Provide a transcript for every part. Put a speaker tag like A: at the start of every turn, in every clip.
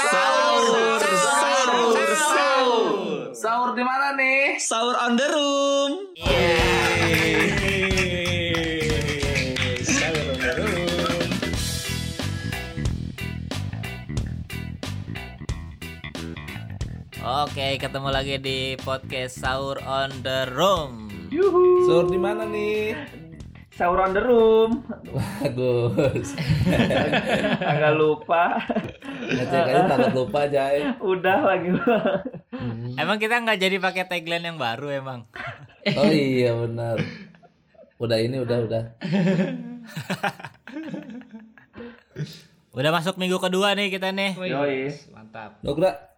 A: Sahur, sahur, sahur.
B: Sahur di mana nih?
A: Sahur on the room. Yeay. Sahur on the room.
C: Oke, ketemu lagi di podcast Sahur on the Room.
B: Yuhu.
D: Sahur di mana nih?
B: Sahur on the room.
D: Bagus.
B: Agak lupa.
D: Ngecek aja takut lupa Jai.
B: Udah lagi.
A: Oh,
C: Emang kita nggak jadi pakai tagline yang baru emang.
D: Oh iya benar. Udah ini udah udah.
C: Udah masuk minggu kedua nih kita nih.
A: iya.
B: Yoi.
A: Mantap.
D: Nugra.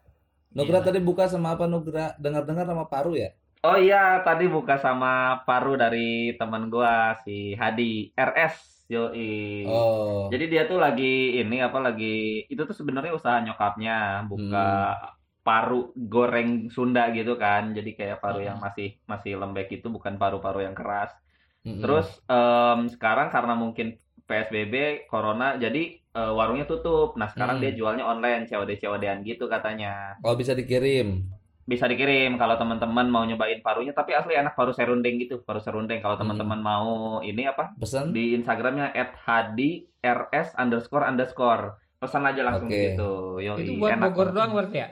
D: Nugra
B: Iya.
D: tadi buka sama apa Nugra? Dengar-dengar sama Paru ya?
B: Oh iya, tadi buka sama paru dari teman gua si Hadi RS. Yoi.
D: Oh.
B: Iya. Jadi dia tuh lagi ini apa lagi itu tuh sebenarnya usaha nyokapnya buka
D: Hmm.
B: paru goreng Sunda gitu kan. Jadi kayak paru
D: Ah.
B: yang masih masih lembek itu bukan paru-paru yang keras.
A: Hmm.
D: Mm-mm.
B: Terus em, sekarang karena mungkin PSBB, corona, jadi eh, warungnya tutup. Nah sekarang
D: Hmm.
B: dia jualnya online, COD-COD-an gitu katanya.
D: Oh bisa dikirim.
B: Bisa dikirim kalau teman-teman mau nyobain parunya, tapi asli enak paru serundeng gitu, paru serundeng. Kalau
A: Hmm.
B: teman-teman mau ini apa
D: Pesan?
B: di Instagramnya @hadirs underscore underscore pesan aja langsung
D: Oke.
B: gitu. Yoi,
A: Itu buat
B: enak
A: Bogor
B: banget.
A: doang berarti ya?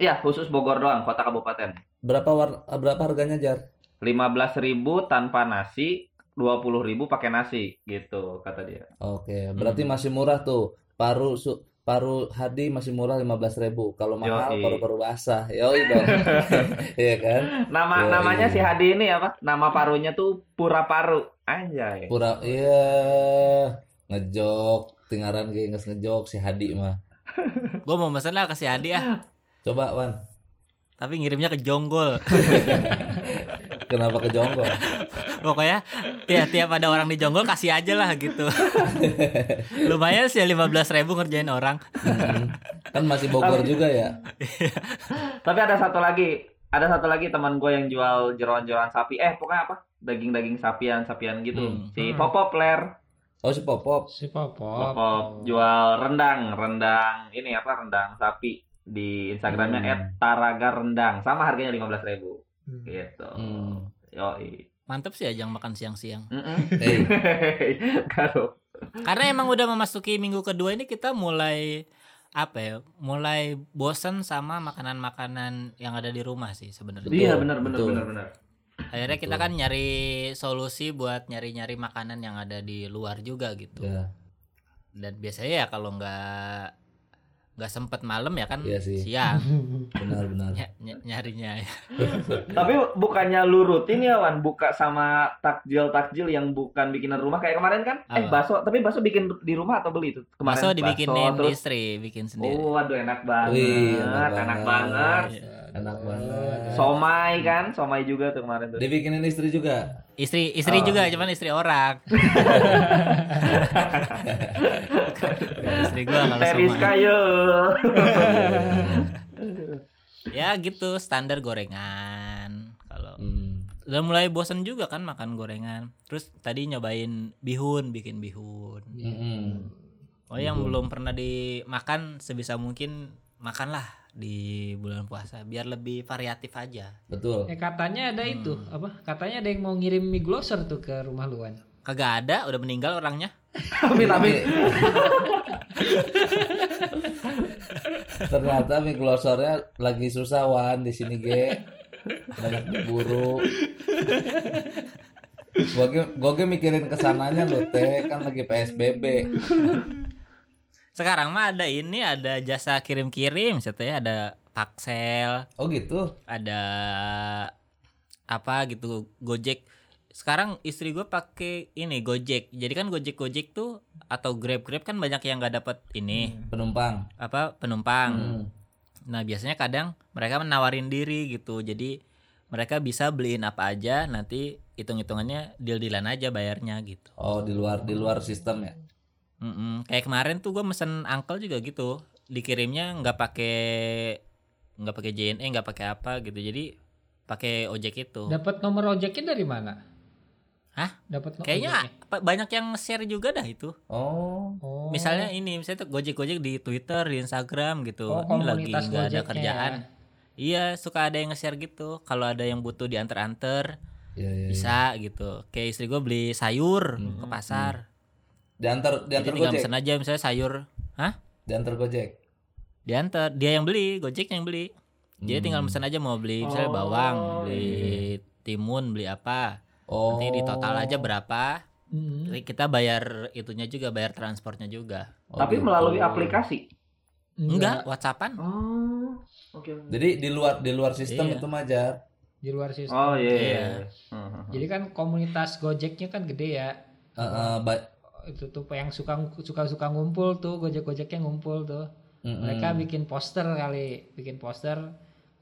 B: Iya khusus Bogor doang, kota kabupaten.
D: Berapa war- eh, berapa harganya Jar?
B: 15.000 tanpa nasi, 20.000 pakai nasi gitu kata dia.
D: Oke, berarti masih murah tuh. Paru su- Paru Hadi masih murah 15.000. Kalau mahal
B: Yoi.
D: paru-paru basah. Yoi dong. Iya kan?
B: Nama
D: Yoi.
B: namanya si Hadi ini apa? Nama parunya tuh Pura Paru. Anjay.
D: pura iya ngejok tingaran kayak nges ngejok si Hadi mah
C: Gue mau mesen lah kasih Hadi ah,
D: coba Wan
C: tapi ngirimnya ke Jonggol.
D: kenapa ke Jonggol
C: Pokoknya tiap tiap ada orang di Jonggol kasih aja lah gitu. Lumayan sih 15.000 ribu ngerjain orang.
D: Mm-mm. kan masih Bogor juga ya
B: Tapi ada satu lagi, ada satu lagi teman gue yang jual jeroan-jeroan sapi. Eh, pokoknya apa? Daging-daging sapian-sapian gitu.
C: Hmm.
B: Si
A: Hmm.
B: Popop Ler,
D: oh si Popop
A: Si Popop.
B: Popop jual rendang, rendang ini apa? Rendang sapi di Instagramnya
D: Hmm.
B: @taraga rendang sama harganya 15.000
A: Hmm.
B: gitu.
D: Hmm.
B: Yoi.
C: Mantep sih ajang makan siang-siang.
B: Mm-mm.
D: Eh,
B: Kalau
C: Karena emang udah memasuki minggu kedua ini kita mulai apa ya? Mulai bosen sama makanan-makanan yang ada di rumah sih sebenarnya.
B: iya benar benar
D: betul.
B: benar benar.
C: Akhirnya kita
D: Betul.
C: kan nyari solusi buat nyari-nyari makanan yang ada di luar juga gitu.
B: Iya.
D: ya
C: Dan biasanya ya kalau nggak nggak sempet malam ya kan
D: Iya sih.
C: siang
A: Hmm.
D: benar-benar
C: ny- ny- nyarinya.
B: Tapi bukannya lu rutin ya Wan buka sama takjil-takjil yang bukan bikinan rumah kayak kemarin kan? Eh
C: Apa?
B: bakso, tapi bakso bikin di rumah atau beli itu? Kemarin
C: Bakso dibikinin
B: terus
C: istri bikin sendiri. Iya.
B: Oh, aduh enak banget.
D: Wih,
B: enak,
D: enak
B: banget.
D: banget.
A: Iya.
D: enak banget
B: Somai kan? Somai juga tuh kemarin tuh.
D: dibikinin istri juga
C: Istri istri
B: Oh.
C: juga cuman istri orang. Bukan istri gua kalau
B: Teriska
C: sama.
B: yo.
C: Ya gitu standar gorengan. Kalau
D: Hmm.
C: udah mulai bosen juga kan makan gorengan. Terus tadi nyobain bihun, bikin bihun.
D: Hmm, Mm-mm.
C: Oh yang belum pernah dimakan sebisa mungkin makanlah di bulan puasa biar lebih variatif aja.
D: betul
A: Eh katanya ada itu apa? Katanya ada yang mau ngirim mie gloser tuh ke rumah luan.
C: Kagak ada, udah meninggal orangnya.
B: Amin amin.
D: ternyata mie glosornya lagi susah Wan di sini ge banyak diburu gue gue mikirin kesananya lo teh kan lagi PSBB
C: Sekarang mah ada ini, ada jasa kirim-kirim, setelah ada paksel,
D: oh gitu
C: ada apa gitu Gojek. Sekarang istri gue pakai ini Gojek. Jadi kan Gojek Gojek tuh atau Grab Grab kan banyak yang nggak dapat ini
D: penumpang
C: apa penumpang.
D: Hmm.
C: Nah biasanya kadang mereka menawarin diri gitu Jadi mereka bisa beliin apa aja Nanti hitung-hitungannya deal-dealan aja bayarnya gitu
D: oh di luar di luar sistem ya
C: Mm-mm. Kayak kemarin tuh gue mesen angkel juga gitu Dikirimnya nggak pakai nggak pakai JNE nggak pakai apa gitu Jadi pakai ojek itu
A: Dapat nomor ojeknya dari mana?
C: Hah?
A: Dapat no-
C: Kayaknya
A: gojeknya.
C: apa- banyak yang share juga dah itu.
D: Oh.
A: ya. Oh.
C: Misalnya ini, misalnya tuh gojek-gojek di Twitter, di Instagram gitu.
A: oh,
C: ini lagi
A: komunitas
C: nggak ada
A: Gojeknya
C: kerjaan.
A: ya.
C: Iya, suka ada yang nge-share gitu. Kalau ada yang butuh diantar-anter,
D: Iya, iya. iya.
C: bisa gitu. Kayak istri gue beli sayur
D: Hmm.
C: ke pasar.
D: Diantar
C: Jadi
D: diantar
C: tinggal
D: Gojek.
C: pesen aja misalnya sayur
D: Diantar Gojek.
C: diantar. Dia yang beli, Gojek yang beli. Jadi
D: Hmm.
C: tinggal pesen aja mau beli misalnya
A: Oh,
C: bawang, beli
D: iya.
C: timun, beli apa.
D: Oh.
C: Nanti di total aja berapa.
A: Mm.
C: Kita bayar itunya juga, bayar transportnya juga.
D: Oh,
B: Tapi
D: gitu.
B: melalui aplikasi.
C: Enggak, WhatsAppan.
B: Oh, oke.
D: Jadi di luar di luar sistem
C: Iya.
D: itu Majar.
A: di luar sistem.
B: Oh iya.
C: Iya.
B: iya.
A: Jadi kan komunitas Gojeknya kan gede ya.
D: Eh, eh, ba-
A: Itu tuh yang suka suka suka ngumpul tuh Gojek-Gojeknya ngumpul tuh.
D: Mm-mm.
A: Mereka bikin poster kali, bikin poster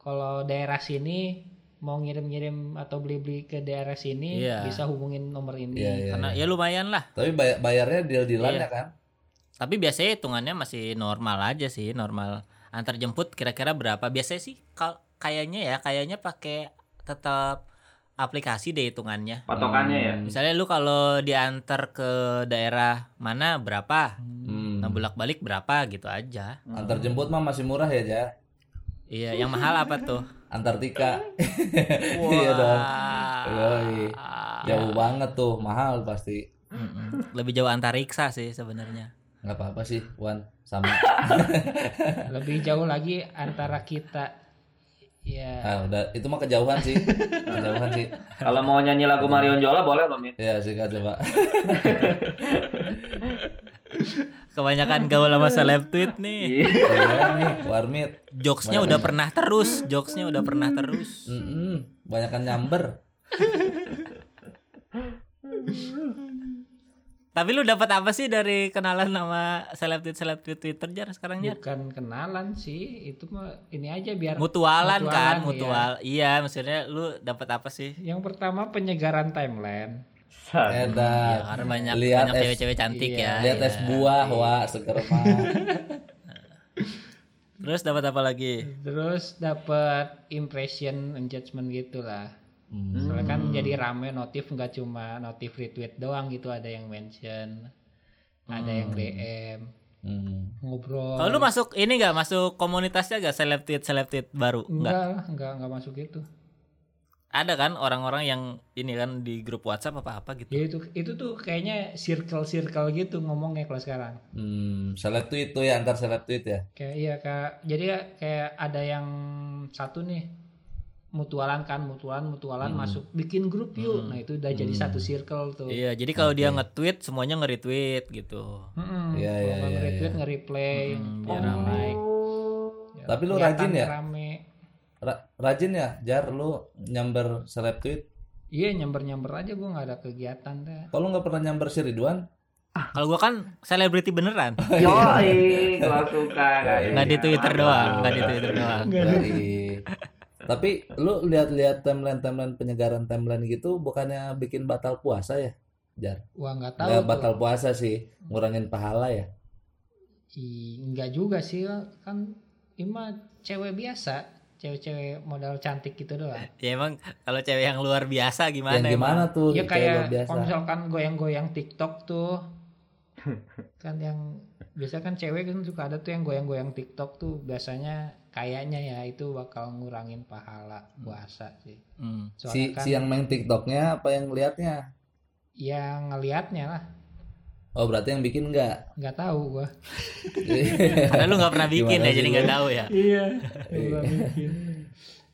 A: kalau daerah sini mau ngirim-ngirim atau beli-beli ke daerah sini
C: Iya.
A: bisa hubungin nomor ini.
D: Iya, iya,
C: Karena ya
D: iya.
C: lumayan lah.
D: Tapi bay- bayarnya deal-dealan
C: Iya.
D: ya kan?
C: Tapi biasanya hitungannya masih normal aja sih, normal antar jemput kira-kira berapa? Biasanya sih kal- kayaknya ya, kayaknya pakai tetap aplikasi deh hitungannya.
B: Patokannya ya.
D: Hmm.
C: Misalnya lu kalau diantar ke daerah mana berapa,
D: Hmm.
C: nah bolak-balik berapa gitu aja.
D: Antar
B: Hmm.
D: jemput mah masih murah ya, Jar.
C: Iya, yang mahal apa tuh?
D: Antartika. Iya dong. Yoi. Jauh banget tuh, mahal pasti.
C: Mm-mm. Lebih jauh antariksa sih sebenarnya.
D: Nggak apa-apa sih, Wan. Sama.
A: Lebih jauh lagi antara kita. Ya.
D: Ah, udah itu mah kejauhan sih. Kejauhan sih.
B: Kalau mau nyanyi lagu Marion Jola boleh loh, Mit.
D: Ya, sih coba.
C: Kebanyakan gaul sama seleb tweet nih.
B: Iya.
D: Iya nih, warmit.
C: Jokesnya udah pernah terus, jokesnya udah pernah terus.
D: Mm-mm, banyakan Hmm. nyamber.
C: Tapi lu dapat apa sih dari kenalan sama seleb tweet seleb tweet Twitter jar sekarang
D: Iya.
C: jar?
A: Bukan kenalan sih, itu mah ini aja biar
C: Mutualan, kan,
A: Mutualan,
C: mutual. Iya, maksudnya lu dapat apa sih?
A: yang pertama penyegaran timeline.
C: Ya,
D: Eta.
C: karena banyak
D: Eh, Iya, Lihat
C: banyak
D: es-
C: cewek-cewek cantik
A: iya,
C: ya.
D: Lihat
C: iya. Hmm.
D: es buah, wah, seger mah.
C: Terus dapat apa lagi?
D: Iya.
A: Terus dapat impression and judgment gitulah.
D: Hmm.
A: Soalnya kan jadi rame notif nggak cuma notif retweet doang gitu, ada yang mention, ada yang DM,
D: Hmm.
A: ngobrol.
C: Kalau lu masuk ini gak masuk komunitasnya gak seleb tweet seleb tweet baru?
A: enggak
C: Enggak.
A: lah, enggak enggak masuk itu.
C: Ada kan orang-orang yang ini kan di grup WhatsApp apa apa gitu.
D: Iya.
A: Ya itu itu tuh kayaknya circle-circle gitu ngomongnya kalau sekarang.
D: Hmm, seleb tweet tuh ya antar seleb tweet ya.
A: Kayak iya kayak jadi ya kayak ada yang satu nih mutualan kan mutualan mutualan
D: Hmm.
A: masuk bikin grup yuk. Nah itu udah jadi satu circle tuh.
C: Iya, jadi kalau dia nge-tweet semuanya nge-retweet gitu.
A: Mm-mm.
D: Iya,
A: Kalau
D: iya,
A: nggak
D: iya,
A: nge-retweet, nge-replay,
C: Mm,
A: biar
C: biar ramai.
A: naik. Ya,
D: Tapi lu
A: kelihatan
D: rajin ya?
A: Rame.
D: Ra- rajin ya, Jar lu nyamber seleb tweet.
A: Iya nyamber-nyamber aja gua nggak ada kegiatan dah.
D: Kalau nggak pernah nyamber si Ridwan,
C: Kalau gua kan selebriti beneran.
B: Yo, gua suka.
D: Iya.
C: Nggak Nah, di Twitter doang, nggak di Twitter doang.
D: Baik. iya. Tapi lu lihat-lihat timeline-timeline penyegaran timeline gitu bukannya bikin batal puasa ya?
A: Wah nggak tahu.
D: Nggak
A: tuh.
D: batal puasa sih, ngurangin pahala ya.
A: Ih, Enggak juga sih kan Ima cewek biasa, cewek-cewek modal cantik gitu doang.
C: Ya emang kalau cewek yang luar biasa gimana?
D: Yang
C: emang?
D: gimana tuh?
A: Ya
D: Kayak luar
A: kayak
D: Iya, biasa.
A: kalau misalkan goyang-goyang TikTok tuh kan yang biasa kan cewek kan suka ada tuh yang goyang-goyang TikTok tuh biasanya kayaknya ya itu bakal ngurangin pahala puasa sih.
C: Hmm.
D: Si,
A: Soalnya kan
D: si yang main TikToknya apa yang liatnya?
A: yang ngelihatnya lah
D: Oh berarti yang bikin nggak?
A: nggak tahu gua.
C: Karena lu nggak pernah bikin
D: Gimana
C: ya, jadi
D: sih
C: nggak tahu ya.
A: Iya.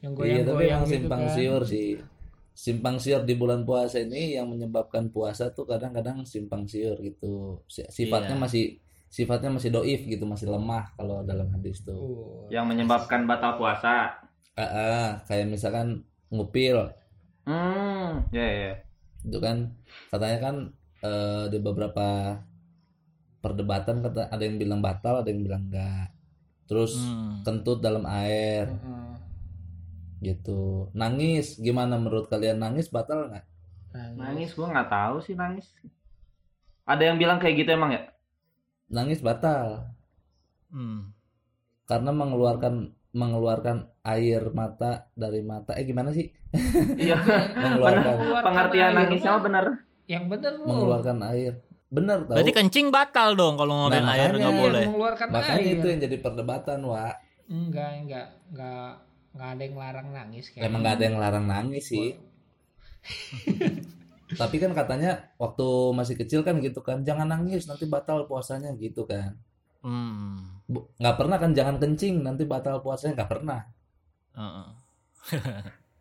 A: yang
D: Iya tapi
A: goyang-goyang
D: emang
A: gitu
D: simpang
A: kan.
D: siur sih. Simpang siur di bulan puasa ini yang menyebabkan puasa tuh kadang-kadang simpang siur gitu. Si- Sifatnya
C: Iya.
D: masih sifatnya masih doif gitu, masih lemah kalau dalam hadis tuh.
A: Oh.
B: Yang menyebabkan batal puasa.
D: Ah, ah, kayak misalkan ngupil
B: Hmm, ya ya.
D: itu kan katanya kan eh, di beberapa perdebatan kata ada yang bilang batal, ada yang bilang enggak. Terus
C: Hmm.
D: kentut dalam air
B: Nah,
A: Heeh. Nah,
D: gitu. Nangis gimana menurut kalian nangis batal nggak?
A: nah,
B: Nangis gua nggak tahu sih nangis. Ada yang bilang kayak gitu emang ya?
D: Nangis batal
C: Hmm.
D: karena mengeluarkan mengeluarkan air mata dari mata eh gimana sih
B: Iya.
D: mengeluarkan
A: Keluar
B: Pengertian
A: karena
B: nangisnya
D: iya.
A: air
B: mah bener.
A: yang bener lu Iya,
D: mengeluarkan air bener tau
C: Berarti kencing batal dong kalau ngomongin
D: Nah,
C: air
D: makanya.
C: nggak
A: Iya,
C: boleh.
A: mengeluarkan
D: makanya
A: air
D: itu yang jadi perdebatan wa
A: enggak enggak enggak enggak ada yang larang nangis kayak
D: emang gak ada yang larang nangis sih tapi kan katanya waktu masih kecil kan gitu kan jangan nangis nanti batal puasanya gitu kan
C: Hmm.
D: Bu- nggak pernah kan jangan kencing nanti batal puasanya nggak pernah
C: Heeh.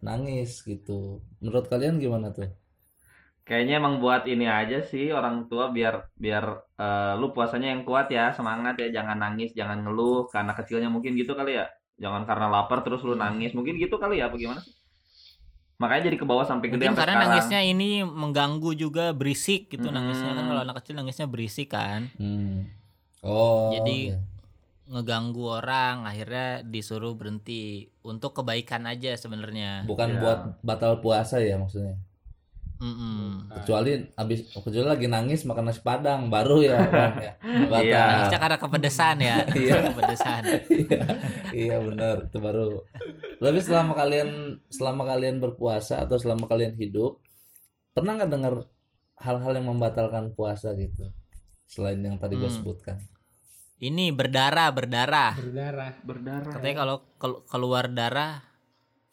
D: nangis gitu menurut kalian gimana tuh
B: Kayaknya emang buat ini aja sih orang tua biar biar eh, lu puasanya yang kuat ya, semangat ya, jangan nangis, jangan ngeluh karena kecilnya mungkin gitu kali ya. Jangan karena lapar terus lu nangis, mungkin gitu kali ya, apa gimana sih? Makanya jadi ke bawah sampai gede
C: Mungkin
B: sampai
C: karena
B: sekarang.
C: nangisnya ini mengganggu juga berisik gitu nangisnya kan
B: Mm.
C: kalau anak kecil nangisnya berisik kan
D: hmm. oh
C: Jadi-
D: ya.
C: ngeganggu orang akhirnya disuruh berhenti untuk kebaikan aja sebenarnya.
D: bukan
B: Ya.
D: buat batal puasa ya maksudnya
C: Mm-mm.
D: kecuali abis kecuali lagi nangis makan nasi padang baru ya, Bang, ya.
B: Iya.
D: batal
C: Nangisnya karena kepedesan ya,
D: Iya.
C: kepedesan.
D: iya iya benar itu baru tapi selama kalian selama kalian berpuasa atau selama kalian hidup pernah nggak dengar hal-hal yang membatalkan puasa gitu selain yang tadi gue
C: Hmm.
D: sebutkan
C: Ini berdarah berdarah.
A: berdarah
B: berdarah. Hmm.
C: Katanya kalau kel- keluar darah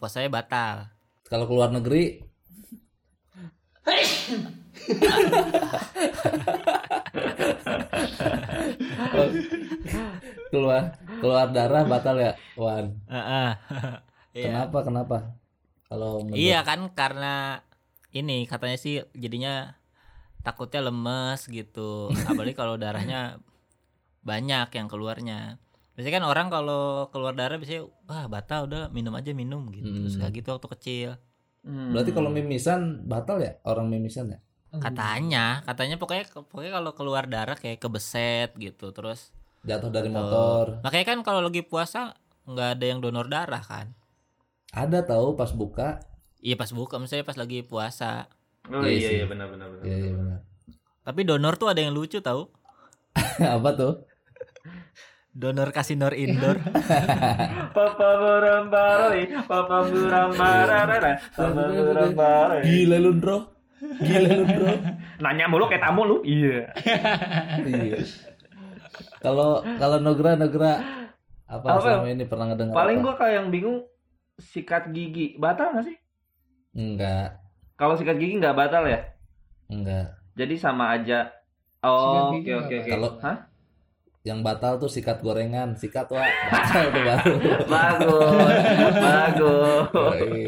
C: puasanya batal.
D: kalau keluar negeri keluar keluar darah batal ya Wan
C: Heeh. Iya.
D: kenapa kenapa kalau menurut-
C: Iya kan karena ini katanya sih jadinya takutnya lemes gitu. Apalagi kalau darahnya banyak yang keluarnya. Biasanya kan orang kalau keluar darah biasanya wah batal udah minum aja minum gitu.
D: Hmm.
C: Suka gitu waktu kecil. kan
B: Hmm.
D: berarti kalau mimisan batal ya orang mimisan ya
C: Katanya, katanya pokoknya pokoknya kalau keluar darah kayak kebeset gitu. Terus
D: jatuh dari
C: eh,
D: motor
C: makanya kan kalau lagi puasa nggak ada yang donor darah kan.
D: ada tahu pas buka
C: Iya pas buka misalnya pas lagi puasa.
B: Oh
D: Iya
B: iya
D: sih.
B: iya benar benar benar.
D: iya iya
B: benar.
D: benar
C: Tapi donor tuh ada yang lucu tau
D: apa tuh
C: Donor kasinor indoor.
B: Papa buram baroi, papa buram barara, papa
D: Iya.
B: buram baroi.
D: gila lu bro gila lu bro
B: Nanya mulu kayak tamu lu. Iya.
D: iya kalau kalau nogra nogra apa
B: Apa?
D: selama ini pernah ngedengar
B: Paling
D: apa?
B: gua kayak yang bingung sikat gigi batal gak sih?
D: enggak
B: Kalau sikat gigi nggak batal ya?
D: enggak
B: Jadi sama aja.
A: Sikat
B: Oh,
A: gigi
B: oke oke
A: nggak
B: oke.
D: batal.
B: Hah?
D: yang batal tuh sikat gorengan sikat wah batal tuh baru
B: Bagus. Bagus.
D: Yoi.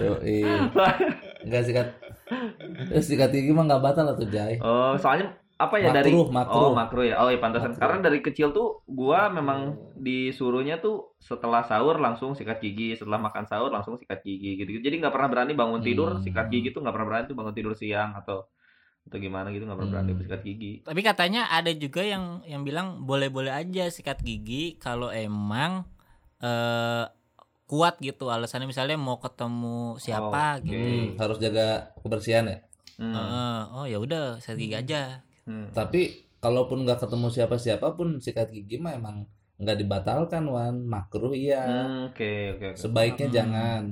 D: Yoi. enggak sikat eh, sikat gigi mah enggak batal atau jai
B: Oh, soalnya apa ya dari
D: makruh makruh
B: Oh, makro ya. Oh, iya pantasan.
D: Makruh.
B: Karena dari kecil tuh gua memang disuruhnya tuh setelah sahur langsung sikat gigi, setelah makan sahur langsung sikat gigi gitu. Jadi nggak pernah berani bangun tidur
D: Hmm.
B: sikat gigi tuh nggak pernah berani tuh bangun tidur siang atau atau gimana gitu nggak pernah berani
D: Hmm.
B: sikat gigi.
C: Tapi katanya ada juga yang yang bilang boleh-boleh aja sikat gigi kalau emang eh kuat gitu alasannya misalnya mau ketemu siapa
B: Oke.
C: gitu.
D: Hmm, harus jaga kebersihan ya
B: Hmm.
C: Heeh. oh ya udah sikat gigi aja.
B: Hmm.
D: tapi kalaupun nggak ketemu siapa-siapa pun sikat gigi mah emang nggak dibatalkan wan makruh iya
B: Hmm, Oke, oke, oke.
D: sebaiknya
C: Hmm.
D: jangan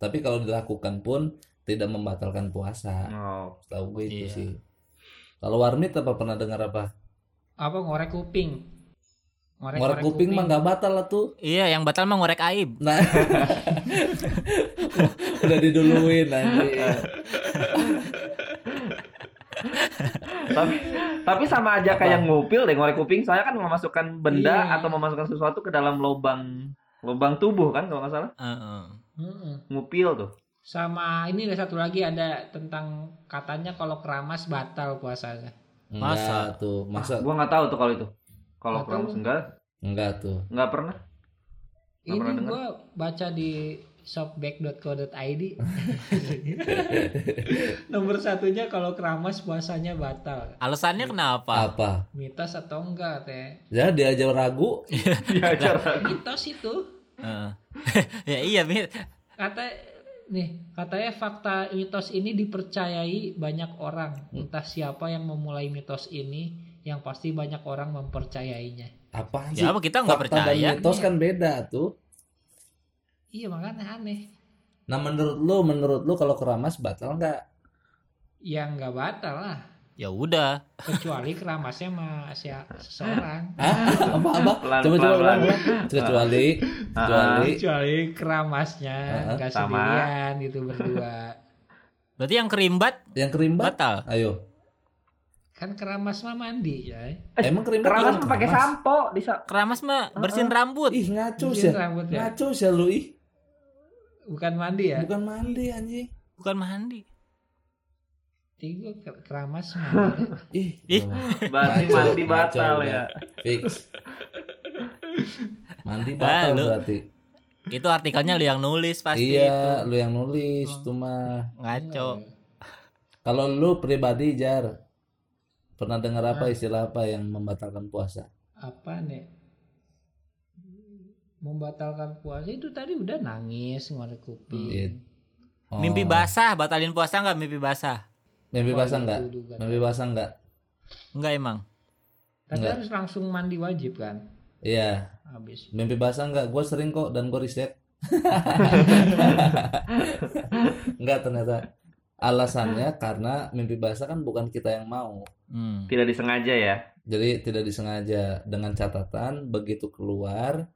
D: tapi kalau dilakukan pun tidak membatalkan puasa
B: Oh.
D: tahu gue itu
C: Iya.
D: sih kalau warmit apa pernah dengar apa
A: apa ngorek kuping
D: ngorek kuping mah nggak batal lah tuh
C: Iya, yang batal mah ngorek aib.
D: nah udah diduluin nanti
B: Tapi tapi sama aja
D: Apa?
B: kayak ngupil deh ngorek kuping. Soalnya kan memasukkan benda
A: Iya.
B: atau memasukkan sesuatu ke dalam lubang lubang tubuh kan kalau nggak salah
C: Heeh.
A: Mm-mm.
B: ngupil tuh.
A: sama ini ada satu lagi ada tentang katanya kalau keramas batal puasanya
D: enggak
C: Masa? Ah.
D: tuh masa
B: Gua nggak tahu tuh kalau itu. Kalau
A: Nggak tahu.
B: keramas enggak
D: enggak tuh
B: Nggak pernah. Nggak pernah
A: ini
B: dengar.
A: gua baca di shopback.co.id nomor satunya kalau keramas puasanya batal
C: Alasannya kenapa?
D: apa
A: mitos atau enggak teh
D: ya dia aja ragu
B: Diajar lagi.
A: mitos itu
C: Heeh. ya iya, Mir.
A: kata nih katanya fakta mitos ini dipercayai banyak orang entah siapa yang memulai mitos ini yang pasti banyak orang mempercayainya
D: apaan sih
C: Ya apa kita nggak
D: Fakta dan
C: percaya?
D: mitos kan beda tuh
A: Iya makanya aneh.
D: Nah menurut lu, menurut lu kalau keramas batal nggak?
A: Ya nggak batal lah.
C: ya udah
A: Kecuali keramasnya sama si seseorang.
D: Hah? apa apa?
B: Pelan,
D: Coba coba
B: pelan,
D: ulang.
B: pelan.
D: ulang. Kecuali,
C: Ah.
D: kecuali.
A: Kecuali keramasnya
D: Heeh,
A: nggak
B: sama.
A: sendirian gitu berdua.
C: berarti yang kerimbat
D: Yang kerimbat?
C: batal
D: Ayo.
A: kan keramas mah mandi ya.
D: Emang kerimbat?
B: Keramas
D: orang
B: pakai
D: keramas?
B: Eh, sampo di sa-
C: keramas mah bersihin rambut
D: Ih ngaco
A: Mungkin
B: Iya.
D: sih.
A: rambut ya.
D: Ngaco sih lu ih.
A: Bukan mandi
B: Iya.
A: ya.
D: Bukan mandi anjing.
C: bukan mandi
A: Tigo keramas mandi.
D: Ih.
C: Ih.
B: berarti
D: Ngaco,
B: mandi
D: ngaco
B: batal
D: udah.
B: ya.
D: Fix. Mandi batal
C: lu
D: berarti.
C: itu artikelnya lu yang nulis pasti
D: Iya,
C: itu
D: lu yang nulis cuma
C: ngaco
D: kalau lu pribadi jar pernah dengar apa istilah apa yang membatalkan puasa?
A: Apa nih? Membatalkan puasa itu tadi udah nangis ngorek
D: Iya.
A: kuping.
D: Oh,
C: mimpi basah batalin puasa nggak mimpi basah
D: Mimpi basah
A: Waduh,
D: enggak?
A: itu juga.
D: Mimpi basah enggak?
C: nggak emang
A: Tapi
D: Enggak.
A: harus langsung mandi wajib kan?
D: Iya,
A: Habis.
D: mimpi basah enggak? Gue sering kok dan gue riset. enggak ternyata alasannya karena mimpi basah kan bukan kita yang mau.
C: hmm.
B: Tidak disengaja ya.
D: Jadi tidak disengaja dengan catatan begitu keluar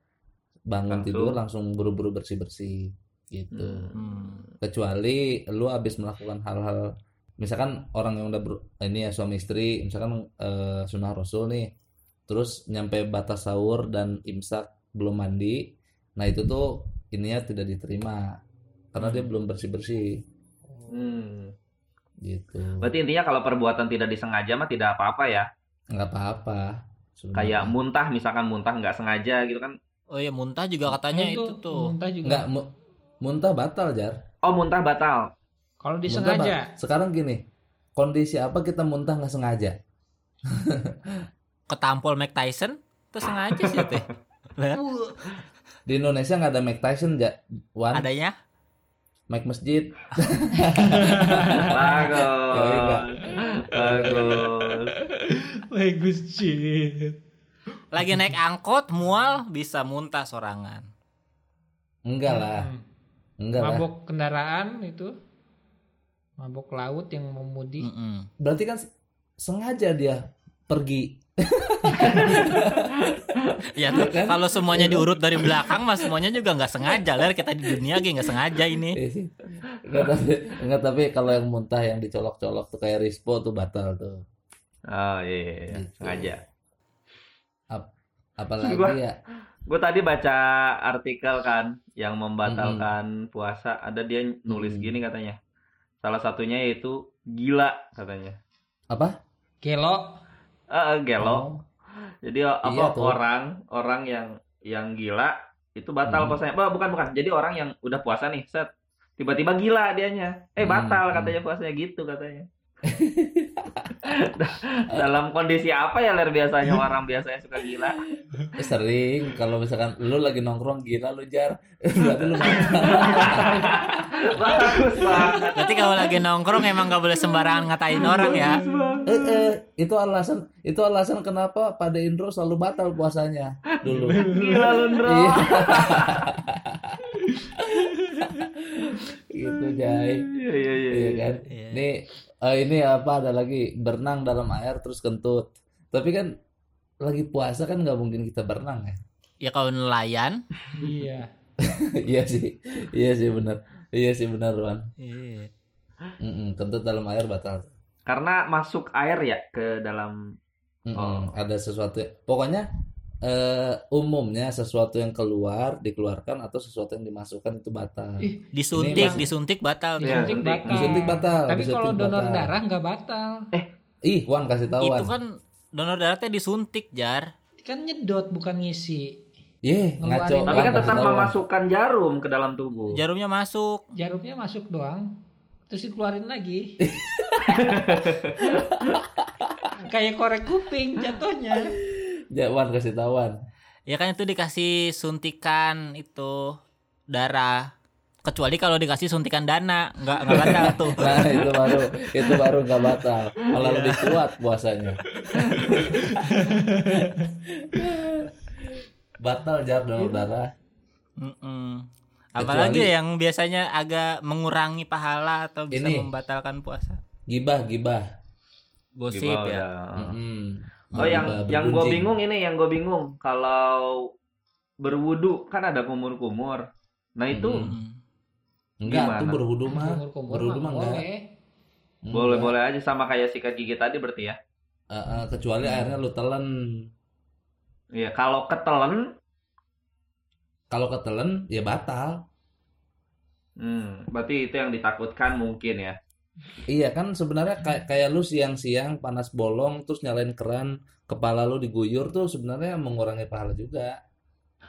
D: bangun
B: Langsung.
D: tidur langsung buru-buru bersih-bersih gitu.
C: Hmm.
D: Kecuali lu habis melakukan hal-hal misalkan orang yang udah ber- ini ya suami istri misalkan eh, sunnah rasul nih terus nyampe batas sahur dan imsak belum mandi nah itu tuh ininya tidak diterima karena dia belum bersih-bersih
B: Hmm.
D: gitu
B: Berarti intinya kalau perbuatan tidak disengaja mah tidak apa-apa ya.
D: nggak apa-apa
B: Kayak
D: sebenarnya.
B: muntah misalkan muntah nggak sengaja gitu kan.
C: oh iya muntah juga katanya itu, tuh
A: Muntah juga.
D: nggak mu- muntah batal jar
B: Oh muntah batal.
A: Kalau
D: Muntah,
A: disengaja.
D: Pak. Sekarang gini, kondisi apa kita muntah nggak sengaja?
C: ketampol Mike Tyson terus sengaja sih ya. teh
D: Kan? Di Indonesia nggak ada Mike Tyson, ja. Wan,
C: adanya
D: Mike Masjid. Yoi, Kak.
B: Bagus. Bagus.
A: Bagus Cid.
C: lagi naik angkot mual bisa muntah sorangan
D: Enggak lah,
A: Hmm.
D: enggak lah.
A: Mabok kendaraan itu. Mabok laut yang memudi.
C: Mm-mm.
D: Berarti kan s- sengaja dia pergi.
C: Ya,
D: Iya kan?
C: kalau semuanya
D: Iya kan?
C: diurut dari belakang mas semuanya juga nggak sengaja lah kita di dunia gini nggak sengaja ini.
D: Iya sih. Enggak tapi, enggak tapi kalau yang muntah yang dicolok-colok tuh kayak Rispo tuh batal tuh.
B: Oh iya, iya, iya.
D: Gitu.
B: sengaja.
D: Apalagi
B: Gua-
D: ya.
B: Gue tadi baca artikel kan yang membatalkan puasa. Ada dia nulis
D: Mm-mm.
B: gini katanya. Salah satunya yaitu gila katanya.
D: Apa?
A: Gelo.
B: Eh eh, gelo.
D: Oh,
B: Jadi apa
D: Iya, tuh.
B: orang orang yang yang gila itu batal
D: Hmm.
B: puasanya. Bah, bukan bukan. Jadi orang yang udah puasa nih set tiba-tiba gila dianya. Eh batal
D: Hmm,
B: katanya puasanya gitu katanya. Da- Dalam kondisi apa ya ler biasanya orang biasanya suka gila?
D: oh, eh, sering kalau misalkan lu lagi nongkrong gila lu jar. Berarti lu batal.
B: Bagus banget.
C: Berarti kalau lagi nongkrong emang nggak boleh sembarangan ngatain orang ya.
B: Bagus banget.
D: Eh, eh, itu alasan itu alasan kenapa pada Indro selalu batal puasanya dulu.
B: Gila Lundro.
D: Iya. gitu Jai.
B: Iya iya iya.
D: Iya
B: iya.
D: kan?
C: Iya.
D: Ini eh, ini apa ada lagi berenang dalam air terus kentut. Tapi kan lagi puasa kan nggak mungkin kita berenang ya.
C: Ya kalau nelayan,
A: Iya.
D: iya sih. Iya sih benar. Iya sih benar Wan.
C: iya.
D: Mm-mm, kentut dalam air batal.
B: Karena masuk air ya ke dalam
D: Mm-mm,
B: Oh.
D: ada sesuatu. Pokoknya eh, umumnya sesuatu yang keluar dikeluarkan atau sesuatu yang dimasukkan itu batal.
A: Ih,
D: Ini
C: disuntik
D: masih-
C: disuntik batal.
B: Iya,
A: Disuntik
B: suntik.
A: batal.
D: Disuntik batal.
A: Tapi
D: disuntik
A: kalau donor
D: batal.
A: darah nggak batal.
D: Ih, Wan kasih tahu
C: Itu
D: Wan.
C: kan donor darah teh disuntik jar.
A: Kan nyedot bukan ngisi.
D: Yeh,
B: tapi
A: ngeluarin.
D: ngaco. Wan
B: kan
D: kasih
B: tetap
D: tahu, Wan.
B: memasukkan jarum ke dalam tubuh.
C: Jarumnya masuk.
A: Jarumnya masuk doang. Terus dikeluarin lagi. Kayak korek kuping jatuhnya.
D: Ya, Wan kasih tahu Wan.
C: Ya kan itu dikasih suntikan itu darah. Kecuali kalau dikasih suntikan dana nggak nggak batal tuh.
D: Nah, itu baru itu baru nggak batal. Malah lebih kuat puasanya.
B: Iya.
D: batal jar donor darah.
C: Mm-mm. Apalagi ya
D: Kecuali-
C: yang biasanya agak mengurangi pahala atau bisa
D: Ini.
C: membatalkan puasa.
D: Gibah, gibah.
C: Gosip ya.
B: Gibah udah.
D: Mm-mm.
B: Oh yang
D: Gibah,
B: yang gue
D: bergunjing.
B: bingung ini yang gue bingung kalau berwudu kan ada kumur-kumur. Nah itu
D: Hmm.
C: Mm.
D: Enggak,
B: Gimana?
D: tuh berwudu mah.
A: Kumur-kumur
D: berwudu
A: mah
D: mah enggak.
A: boleh.
D: Enggak.
B: boleh-boleh aja sama kayak sikat gigi tadi berarti ya.
D: Eh, eh, kecuali airnya lu telan.
B: Iya kalau ketelen,
D: Kalau ketelen ya batal.
B: hmm, berarti itu yang ditakutkan mungkin ya.
D: Iya kan sebenarnya kayak kayak lu siang-siang panas bolong terus nyalain keran, kepala lu diguyur tuh sebenarnya mengurangi pahala juga.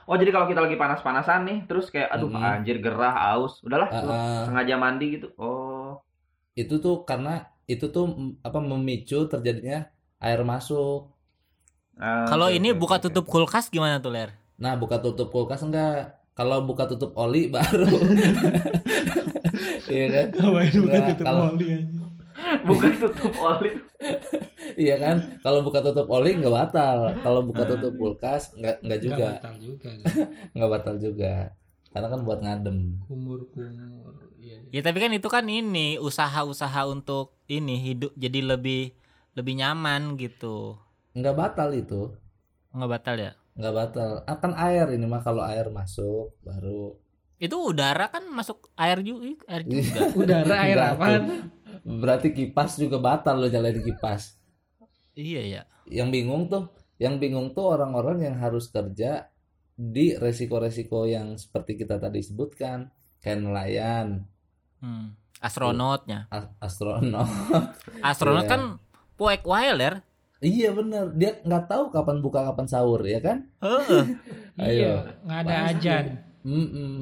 B: Oh jadi kalau kita lagi panas-panasan nih, terus kayak aduh
C: Hmm.
D: Mhm.
B: anjir gerah aus, udahlah
C: Ah,
D: Eh,
B: gua
D: eh,
B: sengaja mandi gitu. Oh
D: itu tuh karena itu tuh mm, apa memicu terjadinya air masuk.
B: Ah,
C: Kalau
B: oke,
C: ini
B: oke,
C: buka
B: oke.
C: tup tutup kulkas gimana tuh, Ler?
D: Nah, buka tutup kulkas enggak? Kalau buka tutup oli baru. Iya kan?
A: Ngapain
D: Enggak,
A: bukan tutup
D: kalau-
A: oli aja.
B: buka tutup oli.
D: Iya kan? Kalau buka tutup oli enggak batal. Kalau buka tutup kulkas enggak enggak juga,
A: Nggak Ah. batal juga.
D: enggak batal juga. Karena kan buat ngadem.
A: Kumur-kumur. Iya.
C: Ya tapi kan itu kan ini usaha-usaha untuk ini hidup jadi lebih lebih nyaman gitu.
D: Enggak batal itu.
C: Nggak batal ya?
D: Enggak batal. Akan air ini mah kalau air masuk baru
C: Itu udara kan masuk air juga, air juga.
A: Udara air
D: Enggak,
A: apaan?
D: berarti kipas juga batal lo nyalain kipas.
C: iya ya.
D: yang bingung tuh yang bingung tuh orang-orang yang harus kerja di resiko-resiko yang seperti kita tadi sebutkan kayak nelayan
C: Hmm. Astronotnya.
D: a- astronot
C: Astronot
D: Iya.
C: kan poek wae, Ler.
D: iya bener dia nggak tahu kapan buka kapan sahur ya kan
C: Heeh.
D: Ayo.
A: Iya, nggak ada
D: Masa?
A: ajan.
D: Mm-mm.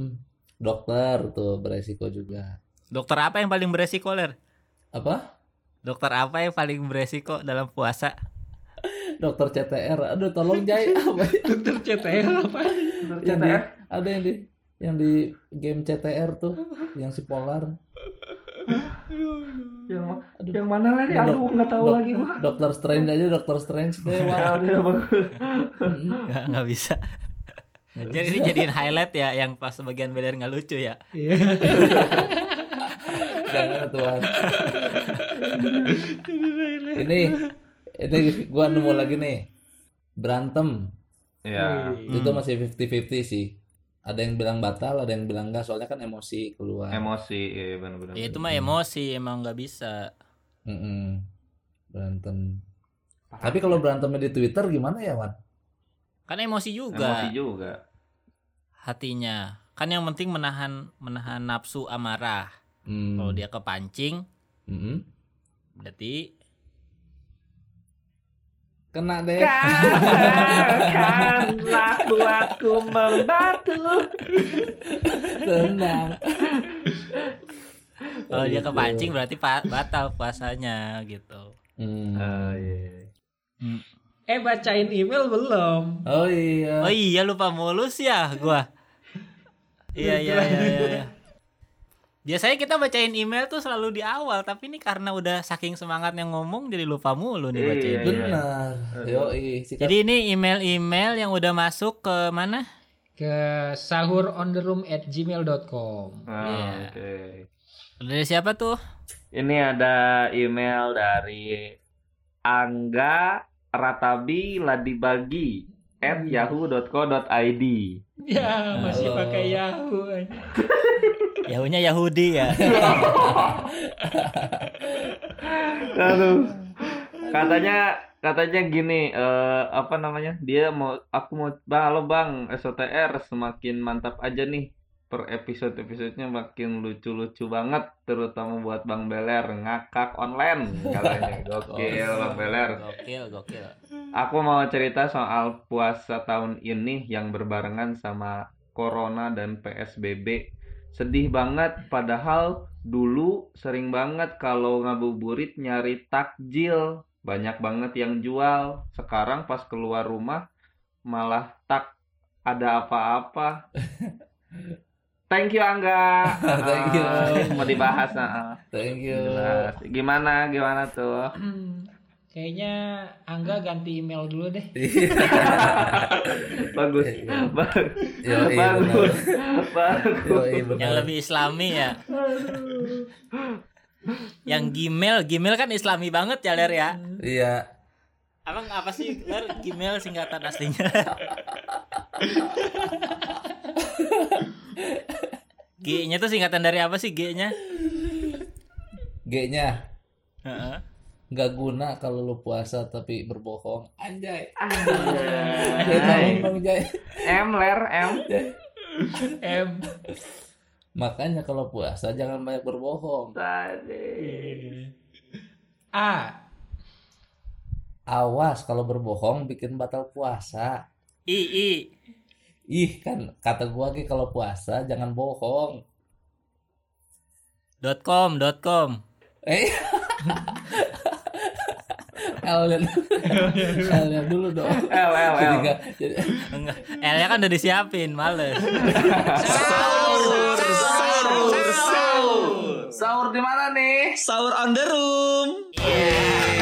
D: dokter tuh beresiko juga
C: Dokter apa yang paling beresiko, Ler?
D: apa
C: Dokter apa yang paling beresiko dalam puasa?
D: dokter CTR aduh tolong jai apa ya?
A: Dokter CTR apa?
D: yang di,
B: CTR.
D: ada yang di yang di game CTR tuh yang si polar
B: Yang, ma-
D: Aduh.
B: yang mana lagi?
D: Dok-
B: Aduh nggak tahu
D: dok-
B: lagi gua.
D: dokter strange aja dokter strange deh
B: Ya,
D: wah.
B: udah, bagus.
D: Mm-mm.
C: Nggak, nggak bisa. Jadi ini jadiin highlight ya yang pas bagian beler nggak lucu ya.
A: Iya.
D: Jangan Tuhan. ini ini gua nemu lagi nih. Berantem.
B: Ya.
D: Itu
C: Hmm.
D: masih 50-50 sih. Ada yang bilang batal, ada yang bilang enggak soalnya kan emosi keluar.
B: Emosi, iya benar-benar.
C: Ya itu mah emosi emang nggak bisa.
D: Mm-mm. Berantem. Tapi kalau berantemnya di Twitter gimana ya, Wan?
C: Kan emosi juga
B: Emosi juga.
C: hatinya. Kan yang penting menahan menahan nafsu amarah.
D: Hmm.
C: Kalau dia kepancing
D: Mm-mm.
C: berarti
D: Kena deh.
B: Katakanlah buatku membatu.
D: Tenang.
C: kalau dia
D: Gitu.
C: kepancing berarti pa- batal puasanya gitu.
D: Hmm.
B: Ah, iya,
A: Eh bacain email belum?
D: Oh iya.
C: Oh iya lupa mulus ya gua. Iya iya iya iya. iya. Biasanya kita bacain email tuh selalu di awal, tapi ini karena udah saking semangatnya ngomong jadi lupa mulu nih bacain.
B: Iya.
D: Benar. Yoi, sikat.
C: Jadi ini email-email yang udah masuk ke mana?
A: Ke sahurondtheroom at gmail.com
B: Ah,
C: Iya.
B: Oke.
C: Dari siapa tuh?
B: Ini ada email dari Angga Ratabi Ladibagi at yahoo.co.id.
A: Ya masih
D: Halo.
A: pakai Yahoo
C: Yahunya Yahudi ya.
B: Aduh. Katanya katanya gini, eh, apa namanya? Dia mau aku mau bang, halo Bang, SOTR semakin mantap aja nih. Per episode-episodenya makin lucu-lucu banget, terutama buat Bang Beler ngakak online katanya. Gokil Bang Beler.
C: Gokil, gokil.
B: Aku mau cerita soal puasa tahun ini yang berbarengan sama Corona dan PSBB. Sedih banget, padahal dulu sering banget kalau ngabuburit nyari takjil. Banyak banget yang jual. Sekarang pas keluar rumah malah tak ada apa-apa. Thank you Angga.
D: Thank you.
B: Ah, mau dibahas. ah, ah.
D: Thank you.
B: Dibahas. Gimana, gimana tuh?
A: Oke Hmm, Kayaknya Angga ganti email dulu deh.
B: bagus
D: Iya.
B: Ba- Iya,
D: Yoi,
B: bagus
D: benar.
B: bagus
D: Yoi,
C: yang
D: benar.
C: lebih islami ya yang Gmail Gmail kan islami banget ya Ler ya
D: Iya.
C: Emang apa sih Ler Gmail singkatan aslinya? G-nya tuh singkatan dari apa sih G-nya?
D: G-nya
C: Heeh.
D: nggak guna kalau lu puasa tapi berbohong. Anjay. Anjay.
B: Anjay.
D: tolong dong, Jay.
B: Iya. M ler M
A: Em.
D: Makanya kalau puasa jangan banyak berbohong.
B: tadi
A: A.
D: Awas kalau berbohong bikin batal puasa.
C: I I
D: Ih kan kata gua Ki, kalau puasa jangan bohong.
C: dot com dot com.
D: Eh. Kalian kalian dulu dong.
B: L L
D: Jadi
B: L
D: nggak- jadi
C: Enggak. L-nya kan udah disiapin, males.
A: Sahur.
E: Sahur.
B: sahur di mana nih
E: Sahur on the room.